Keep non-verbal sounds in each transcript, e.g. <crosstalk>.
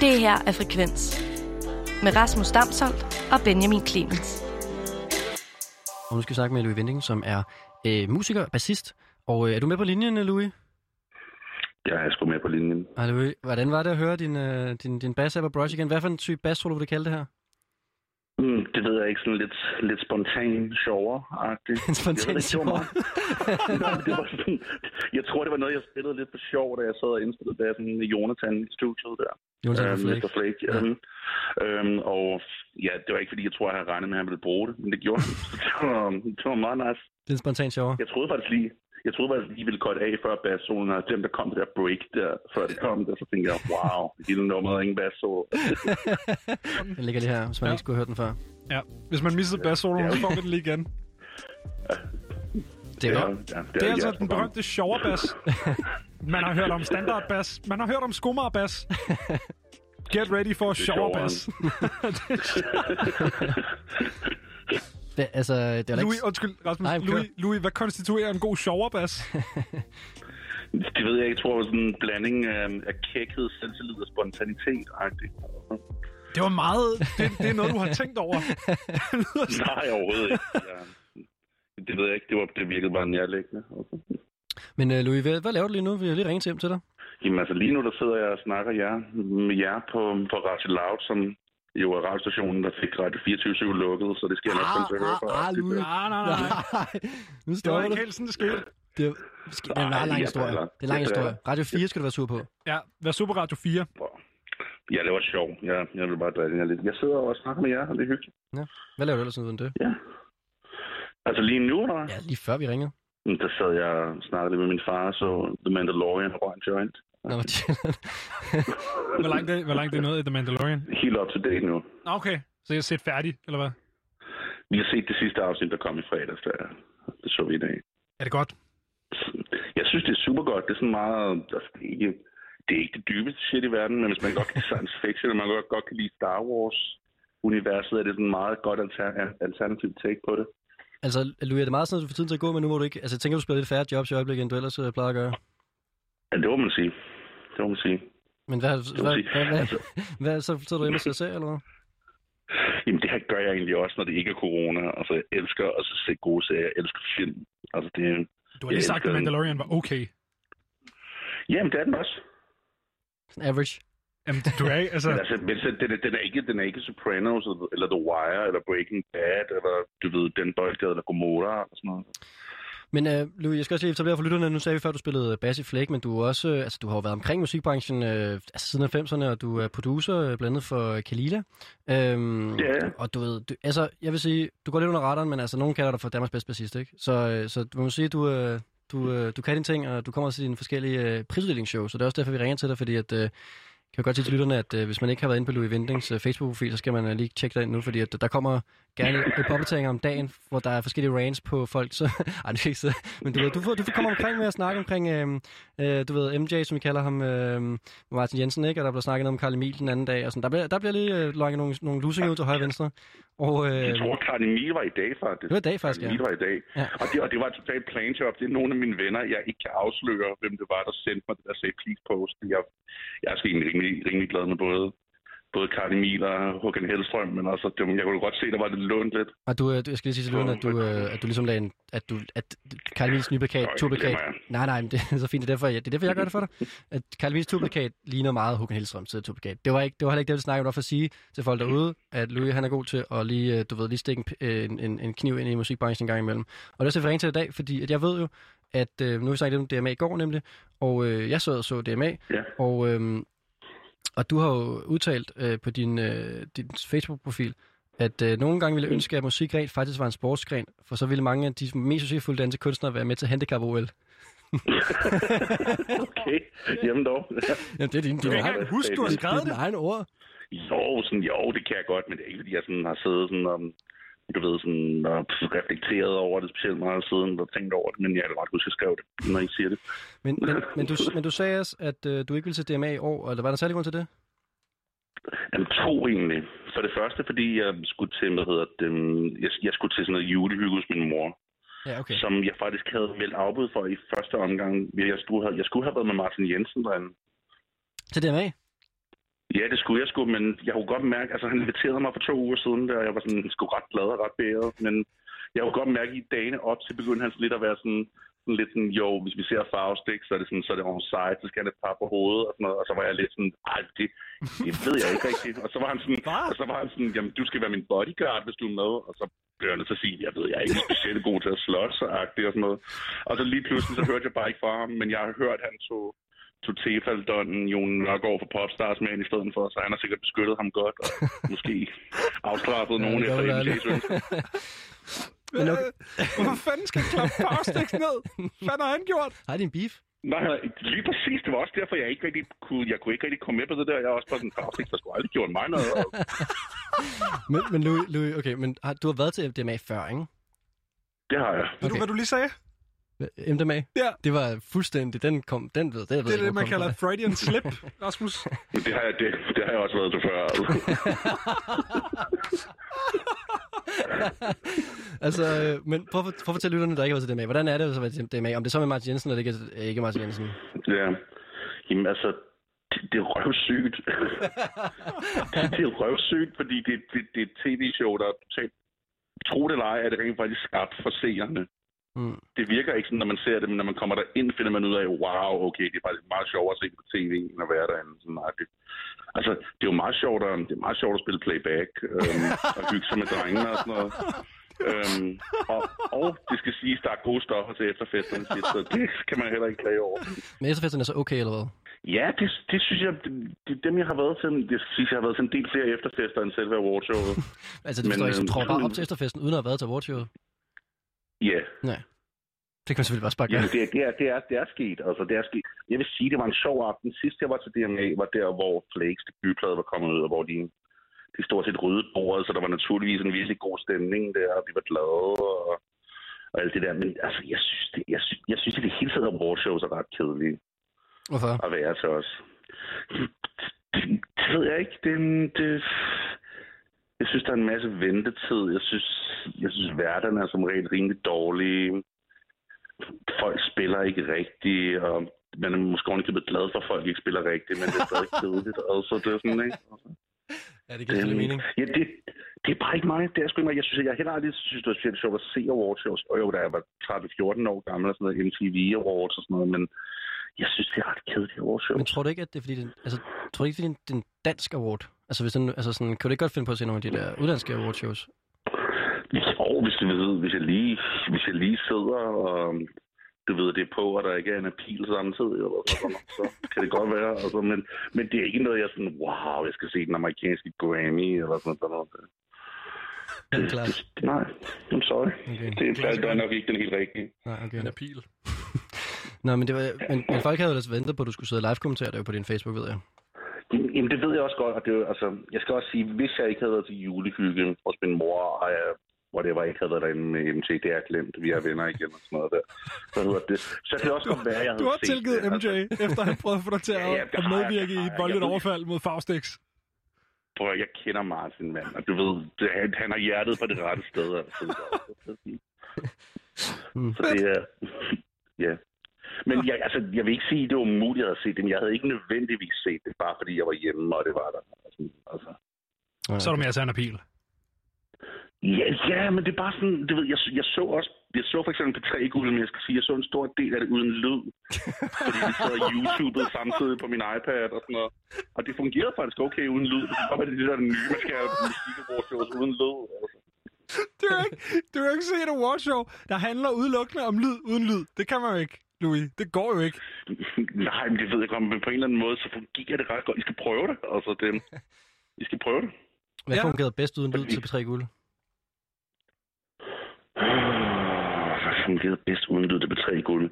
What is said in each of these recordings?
Det her er Frekvens med Rasmus Damsholdt og Benjamin Clemens. Og nu skal vi snakke med Louis Vending, som er øh, musiker, bassist. Og øh, er du med på linjen, øh, Louis? Jeg er sgu med på linjen. Hej Louis. Hvordan var det at høre din, øh, din, din bass på Brush igen? Hvad for en type bassolo vil du kalde det her? Mm, det ved jeg ikke, sådan lidt, lidt spontan sjovere-agtigt. En spontan sjovere? <laughs> det var sådan, jeg tror, det var noget, jeg spillede lidt for sjov, da jeg sad og indspillede bassen med Jonathan i studiet der. Jonathan Øhm, øhm, Flake. Mr. Flake. Ja. Ja. Øhm, øhm, og ja, det var ikke, fordi jeg tror, jeg havde regnet med, at han ville bruge det, men det gjorde han. Så det var, det var meget nice. Det er en spontan sjovere. Jeg troede faktisk lige, jeg troede faktisk lige, ville godt af før bassolen, og dem, der kom det der break der, før det kom der, så tænkte jeg, wow, hele nummeret, ingen bassol. Den ligger lige her, hvis man ja. Ja. ikke skulle have hørt den før. Ja. Hvis man missede bassoloen, så får man den lige igen. Det er godt. ja, Det er altså jeres program. den berømte <laughs> sjovere-bass. Man har hørt om standardbass. Man har hørt om skummerbass. Get ready for sjovere-bass. Det, altså, det er da <laughs> Louis, ikke... undskyld, Rasmus. Nej, Nej, kør. Louis, Louis, hvad konstituerer en god sjovere-bass? Det ved jeg ikke. Jeg tror, det var sådan en blanding øhm, af kækhed, selvtillid og spontanitet. -agtigt. Det var meget... Det, det er noget, du har tænkt <laughs> over. Nej, <laughs> overhovedet ikke. Ja. Det ved jeg ikke. Det, var, det virkede bare nærlæggende. Men øh, Louis, hvad, hvad laver du lige nu? Vi har lige ringet til hjem til dig. Jamen altså, lige nu der sidder jeg og snakker jer, med jer på, på Radio Loud, som jo er radiostationen, der fik Radio 24 lukket, så det skal jeg nok komme til at høre fra. Ah, ah, Louis. Nej, nej, <laughs> nej. Nej, nu Det var stopper ikke det. helt sådan, det skete. Det er sk- det er en meget Nej, lang jeg historie. Det driller. er en lang Jeg historie. driller. Radio 4 skal du være sur på. Ja, vær Super Radio 4. Ja, det var sjovt. Jeg, jeg vil bare drille jer lidt. Jeg sidder og snakker med jer, og det er hyggeligt. Hvad laver du ellers uden det? Ja. Altså lige nu, der, Ja, lige før vi ringede. der sad jeg og snakkede lidt med min far, så The Mandalorian og røg en joint. Nå, <laughs> hvor chillen. Hvor langt det, hvor langt det er nået i The Mandalorian? Helt up to date nu. Nå, okay. Så jeg er set færdig, eller hvad? Vi har set det sidste afsnit, der kom i fredags. Der. Det så vi i dag. Er det godt? Jeg synes, det er super godt. Det er sådan meget... Altså, det, er ikke, det er ikke det dybeste shit i verden, men hvis man godt kan lide science fiction, og man godt, godt kan lide Star Wars-universet, er det sådan en meget godt alter, alternativ take på det. altså, Louis, er det meget sådan, at du får tiden til at gå, men nu må du ikke... Altså, jeg tænker, du spiller lidt færre jobs i øjeblikket, end du ellers øh, plejer at gøre. Ja, det må man sige. Det må man sige. Men hvad, må hvad, sige, hvad, hvad, altså- hvad så sidder du hjemme og ser serier, eller hvad? Jamen, det her gør jeg egentlig også, når det ikke er corona. Altså, jeg elsker at se gode serier. Jeg elsker film. Altså, det, er- Du har lige Jeg sagt, at elsker den. Mandalorian var okay. jamen, det er den også. Sådan average. Jamen, du er <laughs> ikke, altså... Men altså, men så, den, er- den, er ikke, den er ikke Sopranos, eller, eller The Wire, eller Breaking Bad, eller du ved, Den Boldgade, eller Gomorra, eller sådan noget. Men øh, Louis, jeg skal også lige etablere for lytterne. Nu sagde vi før, at du spillede øh, bass i Flake, men du, er også, øh, altså, du har jo været omkring musikbranchen øh, altså, siden 90'erne, og du er producer øh, blandt andet for Kalila. Øhm, Ja. Og du ved, du, altså, jeg vil sige, du går lidt under radaren, men altså, nogen kalder dig for Danmarks bedste bassist, ikke? Så, øh, så man må sige, du, øh, du, øh, du kan dine ting, og du kommer også til dine forskellige øh, prisuddelingshow, så det er også derfor, vi ringer til dig, fordi at... Øh, kan jeg godt sige til lytterne, at øh, hvis man ikke har været inde på Louis Vindings øh, Facebook-profil, så skal man øh, lige tjekke dig ind nu, fordi at, der kommer gerne et opdatering om dagen, hvor der er forskellige rants på folk. Så, <laughs> ej, det kan ikke sidde. Men du, ved, du, får, du får komme omkring med at snakke omkring, øh, øh, du ved, MJ, som vi kalder ham, øh, Martin Jensen, ikke? Og der bliver snakket noget om Karl Emil den anden dag. Og sådan. Der, bliver, der bliver lige øh, lukket nogle, nogle lusinger ud til højre og venstre. Og, øh, Jeg tror, Karin Emil var i dag, faktisk. Det var i dag, faktisk, ja. Karin Emil var i dag. Ja. Ja. Og, det, og det var et totalt planjob. Det er nogle af mine venner, jeg ikke kan afsløre, hvem det var, der sendte mig det der say please post. Jeg, jeg er sgu egentlig rimelig, rimelig glad med både, både Karin Emil og Håkan Hellstrøm, men også, dem, jeg kunne godt se, der var lidt lånt lidt. og du, øh, du, jeg skal lige sige til lytterne, at du, øh, at du ligesom lagde en, at, du, at Karl Emils nye plakat, Sorry, turplakat, det glemmer jeg. Nej, nej, men det er så fint. Det er derfor, jeg, det er derfor, jeg gør det for dig. <laughs> At Carl Mies turplakat ligner meget Håkan Hellstrøms turplakat. Det var, ikke, det var heller ikke det, vi snakkede om. Det var for at sige til folk derude, at Louis han er god til at lige, øh, du ved, lige stikke en, p- øh, en, en, en kniv ind i musikbranchen en gang imellem. Og det er også derfor, jeg ringer til dig i dag, fordi at jeg ved jo, at øh, nu har vi snakket lidt om DMA i går nemlig, og øh, jeg sad og så DMA, Ja. og, øh, og du har jo udtalt øh, på din, øh, din Facebook-profil, at øh, nogle gange ville jeg ønske, at musik rent faktisk var en sportsgren, for så ville mange af de mest succesfulde danske kunstnere være med til handicap-OL. Okay, <laughs> jamen dog. Jamen, det er din, Du din, kan egen, ikke engang huske, du har det er skrevet din det. egen ord. Jo, sådan, jo, det kan jeg godt, men det er ikke, fordi jeg sådan har siddet sådan, um, du ved, sådan, og reflekteret over det specielt meget siden, og tænkt over det, men jeg kan godt huske, at jeg skrev det, når I siger det. Men, men, men, du, men du sagde også, at øh, du ikke ville til DMA i år, eller var der en særlig grund til det? Jamen, to egentlig. For det første, fordi jeg skulle til, hvad hedder det, øhm, jeg, jeg skulle til sådan noget julehygge hos min mor, Ja, okay. okay. som jeg faktisk havde meldt afbud for i første omgang. Jeg, jeg, skulle, have, jeg skulle have været med Martin Jensen derinde. Til DMA? Ja, det skulle jeg sgu, men jeg kunne godt mærke, altså han inviterede mig for to uger siden, der jeg var sådan sgu ret glad og ret bæret, men jeg kunne godt mærke, at i dagene op til begyndte han sådan lidt at være sådan, sådan lidt sådan, jo, hvis vi ser Faust, ikke, så er det sådan, så er det onside, så skal han et par på hovedet og sådan noget, og så var jeg lidt sådan, ej, det, det ved jeg ikke rigtigt. Og så var han sådan, Hva? og så var han sådan, jamen, du skal være min bodyguard, hvis du er med, og så blev jeg nødt til at sige, jeg ved, jeg er ikke specielt god til at slås og agtigt og sådan noget. Og så lige pludselig, så hørte jeg bare ikke fra ham, men jeg har hørt, at han tog tog Tefaldon, Jon Nørgaard for Popstars med ind i stedet for, så han har sikkert beskyttet ham godt, og måske afstraffet Ja, nogen det efter kan være MJ's ønske. Men okay. Hvorfor fanden skal jeg klappe Faustix ned? Hvad har han gjort? Har de en beef? Nej, nej, lige præcis. Det var også derfor, jeg ikke rigtig kunne, jeg kunne ikke rigtig komme med på det der. Jeg er også bare sådan, Faustix, der skulle aldrig gjort mig noget. Og, Men, men Louis, Louis, okay, men har, du har været til MDMA før, ikke? det har jeg. Ved du, Okay. hvad du lige sagde? Hva- MDMA? Ja. Det var fuldstændig, den kom, den ved, det, jeg ved Det er ikke, det, hvor man kom kalder fra. et Freudian slip, Rasmus. Men det har jeg, det, det har jeg også været til før. Altså, øh, men prøv, at- prøv at fortælle lytterne, der ikke har været til DMA. Hvordan er det at være til DMA? Om det så er med Martin Jensen, eller det ikke er ikke Martin Jensen? ja. Jamen altså, det, det er røvsygt. det, det er røvsygt, fordi det, det, det er et tv-show, der er totalt tro det eller ej, er det rent faktisk skabt for seerne. Mm. det virker ikke sådan, når man ser det, men når man kommer derind, finder man ud af, wow, okay, det er faktisk meget sjovt at se på tv, end at være derinde. Sådan, nej, det, altså, det er jo meget sjovt, at, det er meget sjovt at spille playback, øhm, og hygge sig med drengene og sådan noget. Øhm, og, og, det skal siges, der er gode stoffer til efterfesten, så det kan man heller ikke klage over. Men efterfesten er så okay, eller hvad? Ja, det, det synes jeg, det, det, er dem jeg har været til, det synes jeg har været til en del flere efterfester end selve awardshowet. Altså, det Men, forstår jeg ikke, øh, så tror bare Louis- op til efterfesten, uden at have været til awardshowet. Ja, yeah. Det kan man selvfølgelig bare sparke Ja, af. det, er- det, er, det, er, det er sket. Altså, det er sket. Jeg vil sige, det var en sjov aften. Sidst jeg var til DMA, var der, hvor Flakes debutplade var kommet ud, og hvor de, de stort set ryddede bordet, så der var naturligvis en virkelig god stemning der, og vi var glade, og, og alt det der. Men altså, jeg synes, det, jeg, synes, jeg synes, at det hele taget awardshows er ret kedelige Hvorfor? at være til os. Det, det ved jeg ikke. Det, det, jeg synes, der er en masse ventetid. Jeg synes, jeg synes værterne er som regel rimelig dårlige. Folk spiller ikke rigtigt, og man er måske ordentligt glad for, at folk ikke spiller rigtigt, men det er <laughs> stadig kedeligt. Altså, det er sådan, ikke? Ja, det giver selvfølgelig mening. Ja, det, det er bare ikke mig. Det er sgu ikke mig. Jeg synes, jeg heller aldrig synes, det var specielt sjovt at se awards. Jeg var, jo, da jeg var 13-14 år gammel og sådan noget, MTV Awards og sådan noget, men jeg synes, det er ret kedeligt awards. Men tror du ikke, at det er fordi, den, altså, tror du ikke, fordi det er en dansk award? Altså, hvis den, altså sådan, kan du ikke godt finde på at se nogle af de der udlandske awardshows? Jo, hvis du ved, hvis jeg lige, hvis jeg lige sidder og du ved, det er på, og der ikke er en pil samtidig, eller sådan, noget, så kan det godt være. Altså, men, men det er ikke noget, jeg er sådan, wow, jeg skal se den amerikanske Grammy, eller sådan noget. Det er klart. Nej, I'm sorry. Okay. Det er, der er nok ikke den helt rigtige. Nej, okay. Den er pil. Nå, men, det var, men, men folk havde jo ellers ventet på, at du skulle sidde og live-kommentere det jo på din Facebook, ved jeg. Jamen, jamen, det ved jeg også godt, og det, er jo- altså, jeg skal også sige, hvis jeg ikke havde været til julehygge hos min mor, og jeg, hvor det var, ikke havde været derinde med MT, det er glemt, vi er venner igen og sådan noget der. Så, hedder det. så kan det også godt være, jeg Du havde har set tilgivet det. Altså, MJ, efter han prøvede at få dig til Ja, ja, at det at har jeg, medvirke det i har et jeg. voldeligt Jeg ved- overfald mod Faustix. Prøv at, jeg kender Martin, mand. Og du ved, det, han, han har hjertet på det rette sted. Altså. Mm. Så det er... ja. Men jeg, altså, jeg vil ikke sige, at det var umuligt at se det, men jeg havde ikke nødvendigvis set det, bare fordi jeg var hjemme, og det var der. Altså. Nej, Så er du mere sand og pil. Ja, ja, men det er bare sådan, du ved, jeg, jeg så også, jeg så for eksempel P3 Guld, men jeg skal sige, jeg så en stor del af det uden lyd. Fordi vi sad og YouTubede samtidig på min iPad og sådan noget. Og det fungerede faktisk okay uden lyd. Det kan godt være, det er det, der er det nye, man skal have musik uden lyd. Altså. Du kan ikke, du kan ikke se et awardshow, der handler udelukkende om lyd uden lyd. Det kan man jo ikke, Louis. Det går jo ikke. Nej, men det ved jeg godt, men på en eller anden måde, så fungerer det ret godt. I skal prøve det, altså det... I skal prøve det. Hvad Ja. fungerede bedst uden lyd til P3 Guld? Ah, Hvad fungerede bedst uden lyd, det blev tre guld?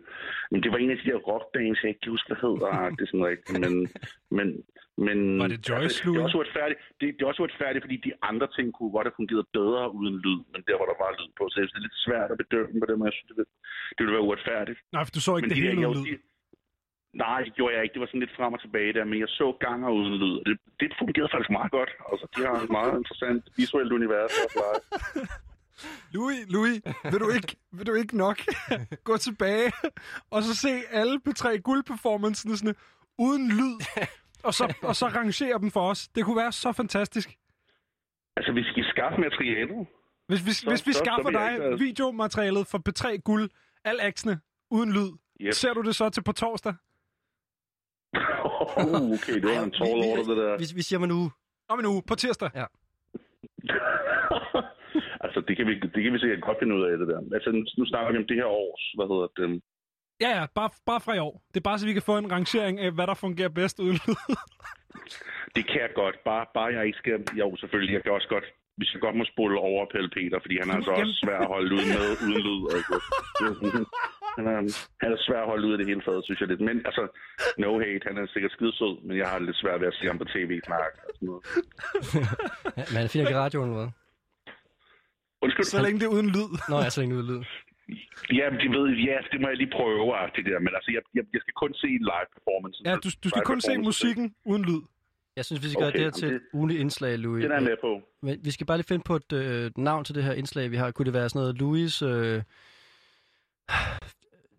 Men det var en af de der rockbands, jeg ikke kan huske, hvad hed, og Ah, det er sådan rigtigt, men... men, men Var det Joyce, altså, det, er også uretfærdigt, det, det, er også uretfærdigt, fordi de andre ting kunne godt have fungeret bedre uden lyd, men der, hvor der var lyd på. Så jeg synes, det er lidt svært at bedømme på det, men jeg synes, det, vil- det ville være uretfærdigt. Nej, for du så ikke det de der hele uden jævn- lyd. de- Nej, det gjorde jeg ikke. Det var sådan lidt frem og tilbage der, men jeg så ganger uden lyd. og Det, det fungerede faktisk meget godt. Altså, de har et meget interessant visuelt <laughs> univers. og bla. Louis, Louis, vil <laughs> du ikke, vil du ikke nok <laughs> gå <laughs> tilbage og så se alle P3 guld performancerne uden lyd? og så, og så rangere dem for os. Det kunne være så fantastisk. Altså, vi skal skaffe materialet. Hvis, hvis, Så- hvis vi så- så skaffer vil jeg ikke dig være- videomaterialet for P3 Guld, al aksene, uden lyd, Yep. ser du det så til på torsdag? oh, okay, det var en tall order, det der. Vi, vi siger mig nu. Om en uge, på tirsdag. Ja. <laughs> altså, det kan, vi, det kan vi sikkert godt finde ud af, det der. Altså, nu, nu snakker vi om det her års, hvad hedder det? øhm, Ja, ja, bare, bare fra i år. Det er bare, så vi kan få en rangering af, hvad der fungerer bedst uden lyd. <laughs> Det kan jeg godt, bare, bare jeg ikke skal... Jo, selvfølgelig, jeg kan også godt... Vi skal godt må spole over Pelle Peter, fordi han er altså også Jamen. svær at holde ud med, uden lyd. <laughs> Altså. Det er sådan, Han er, han er svær at holde ud af det hele taget, synes jeg lidt. Men altså, no hate, han er sikkert skidesød, men jeg har lidt svært ved at se ham på tv snakke og sådan noget. Ja, men han er fint ikke i radioen, eller hvad? Undskyld. så længe det er uden lyd. Nå, jeg er så længe ude af lyd. Ja, men de ved, ja, det må jeg lige prøve, ah, det der. Men altså, jeg, jeg, jeg skal kun se live performance. Ja, du, du skal kun se musikken uden lyd. Jeg synes, vi skal gøre Okay, det her jamen til et ugenligt indslag, Louis. Øh, Den er jeg med på. Men vi skal bare lige finde på et øh, navn til det her indslag, vi har. Kunne det være sådan noget Louis... Øh,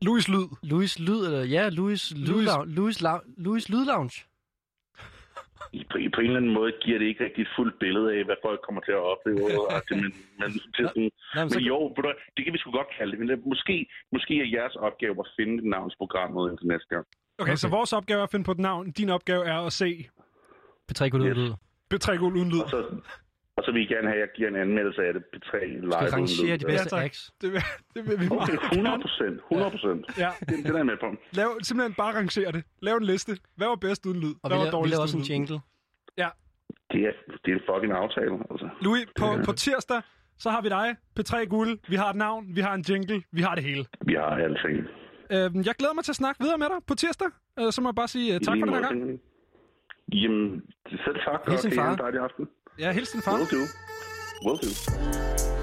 Louis Lyd. Louis Lyd, eller ja, Louis Lyd Louis- Lounge. Louis, Lou- Louis Lyd Lounge. I, på, i, på en eller anden måde giver det ikke rigtig et fuldt billede af, hvad folk kommer til at <laughs> opleve. og det, men, men, til sådan, Nej, men men så, jo, ved du hvad, det kan vi sgu godt kalde det. Men det, måske, måske er jeres opgave at finde et navnsprogram ud til næste gang. Okay, okay, så vores opgave er at finde på et navn. Din opgave er at se P3 kunne Yes. yes. lyd. P3 Guld uden lyd. Og så, og så vil I gerne have, at jeg giver en anmeldelse af det. P3 Skal live. rangere de bedste tak. acts. Det, vil- det vil vi Okay, meget 100 gerne. procent. 100 procent. Ja, Den, den er jeg med på. lav, simpelthen bare rangere det. Lav en liste. Hvad var bedst uden lyd? Og vi Hvad var laver, vi dårligst laver også uden en lyd? jingle. Det er, det er en fucking aftale. Altså. Louis, på, på tirsdag, så har vi dig. P3 Guld. Vi har et navn. Vi har en jingle. Vi har det hele. Vi har alting. Øh, jeg glæder mig til at snakke videre med dig på tirsdag. Øh, så må jeg bare sige øh, tak for den her gang. Jamen, selv tak. og Hilsen kan I have far. en dejlig aften. Ja, hils din far. Will do. Will do.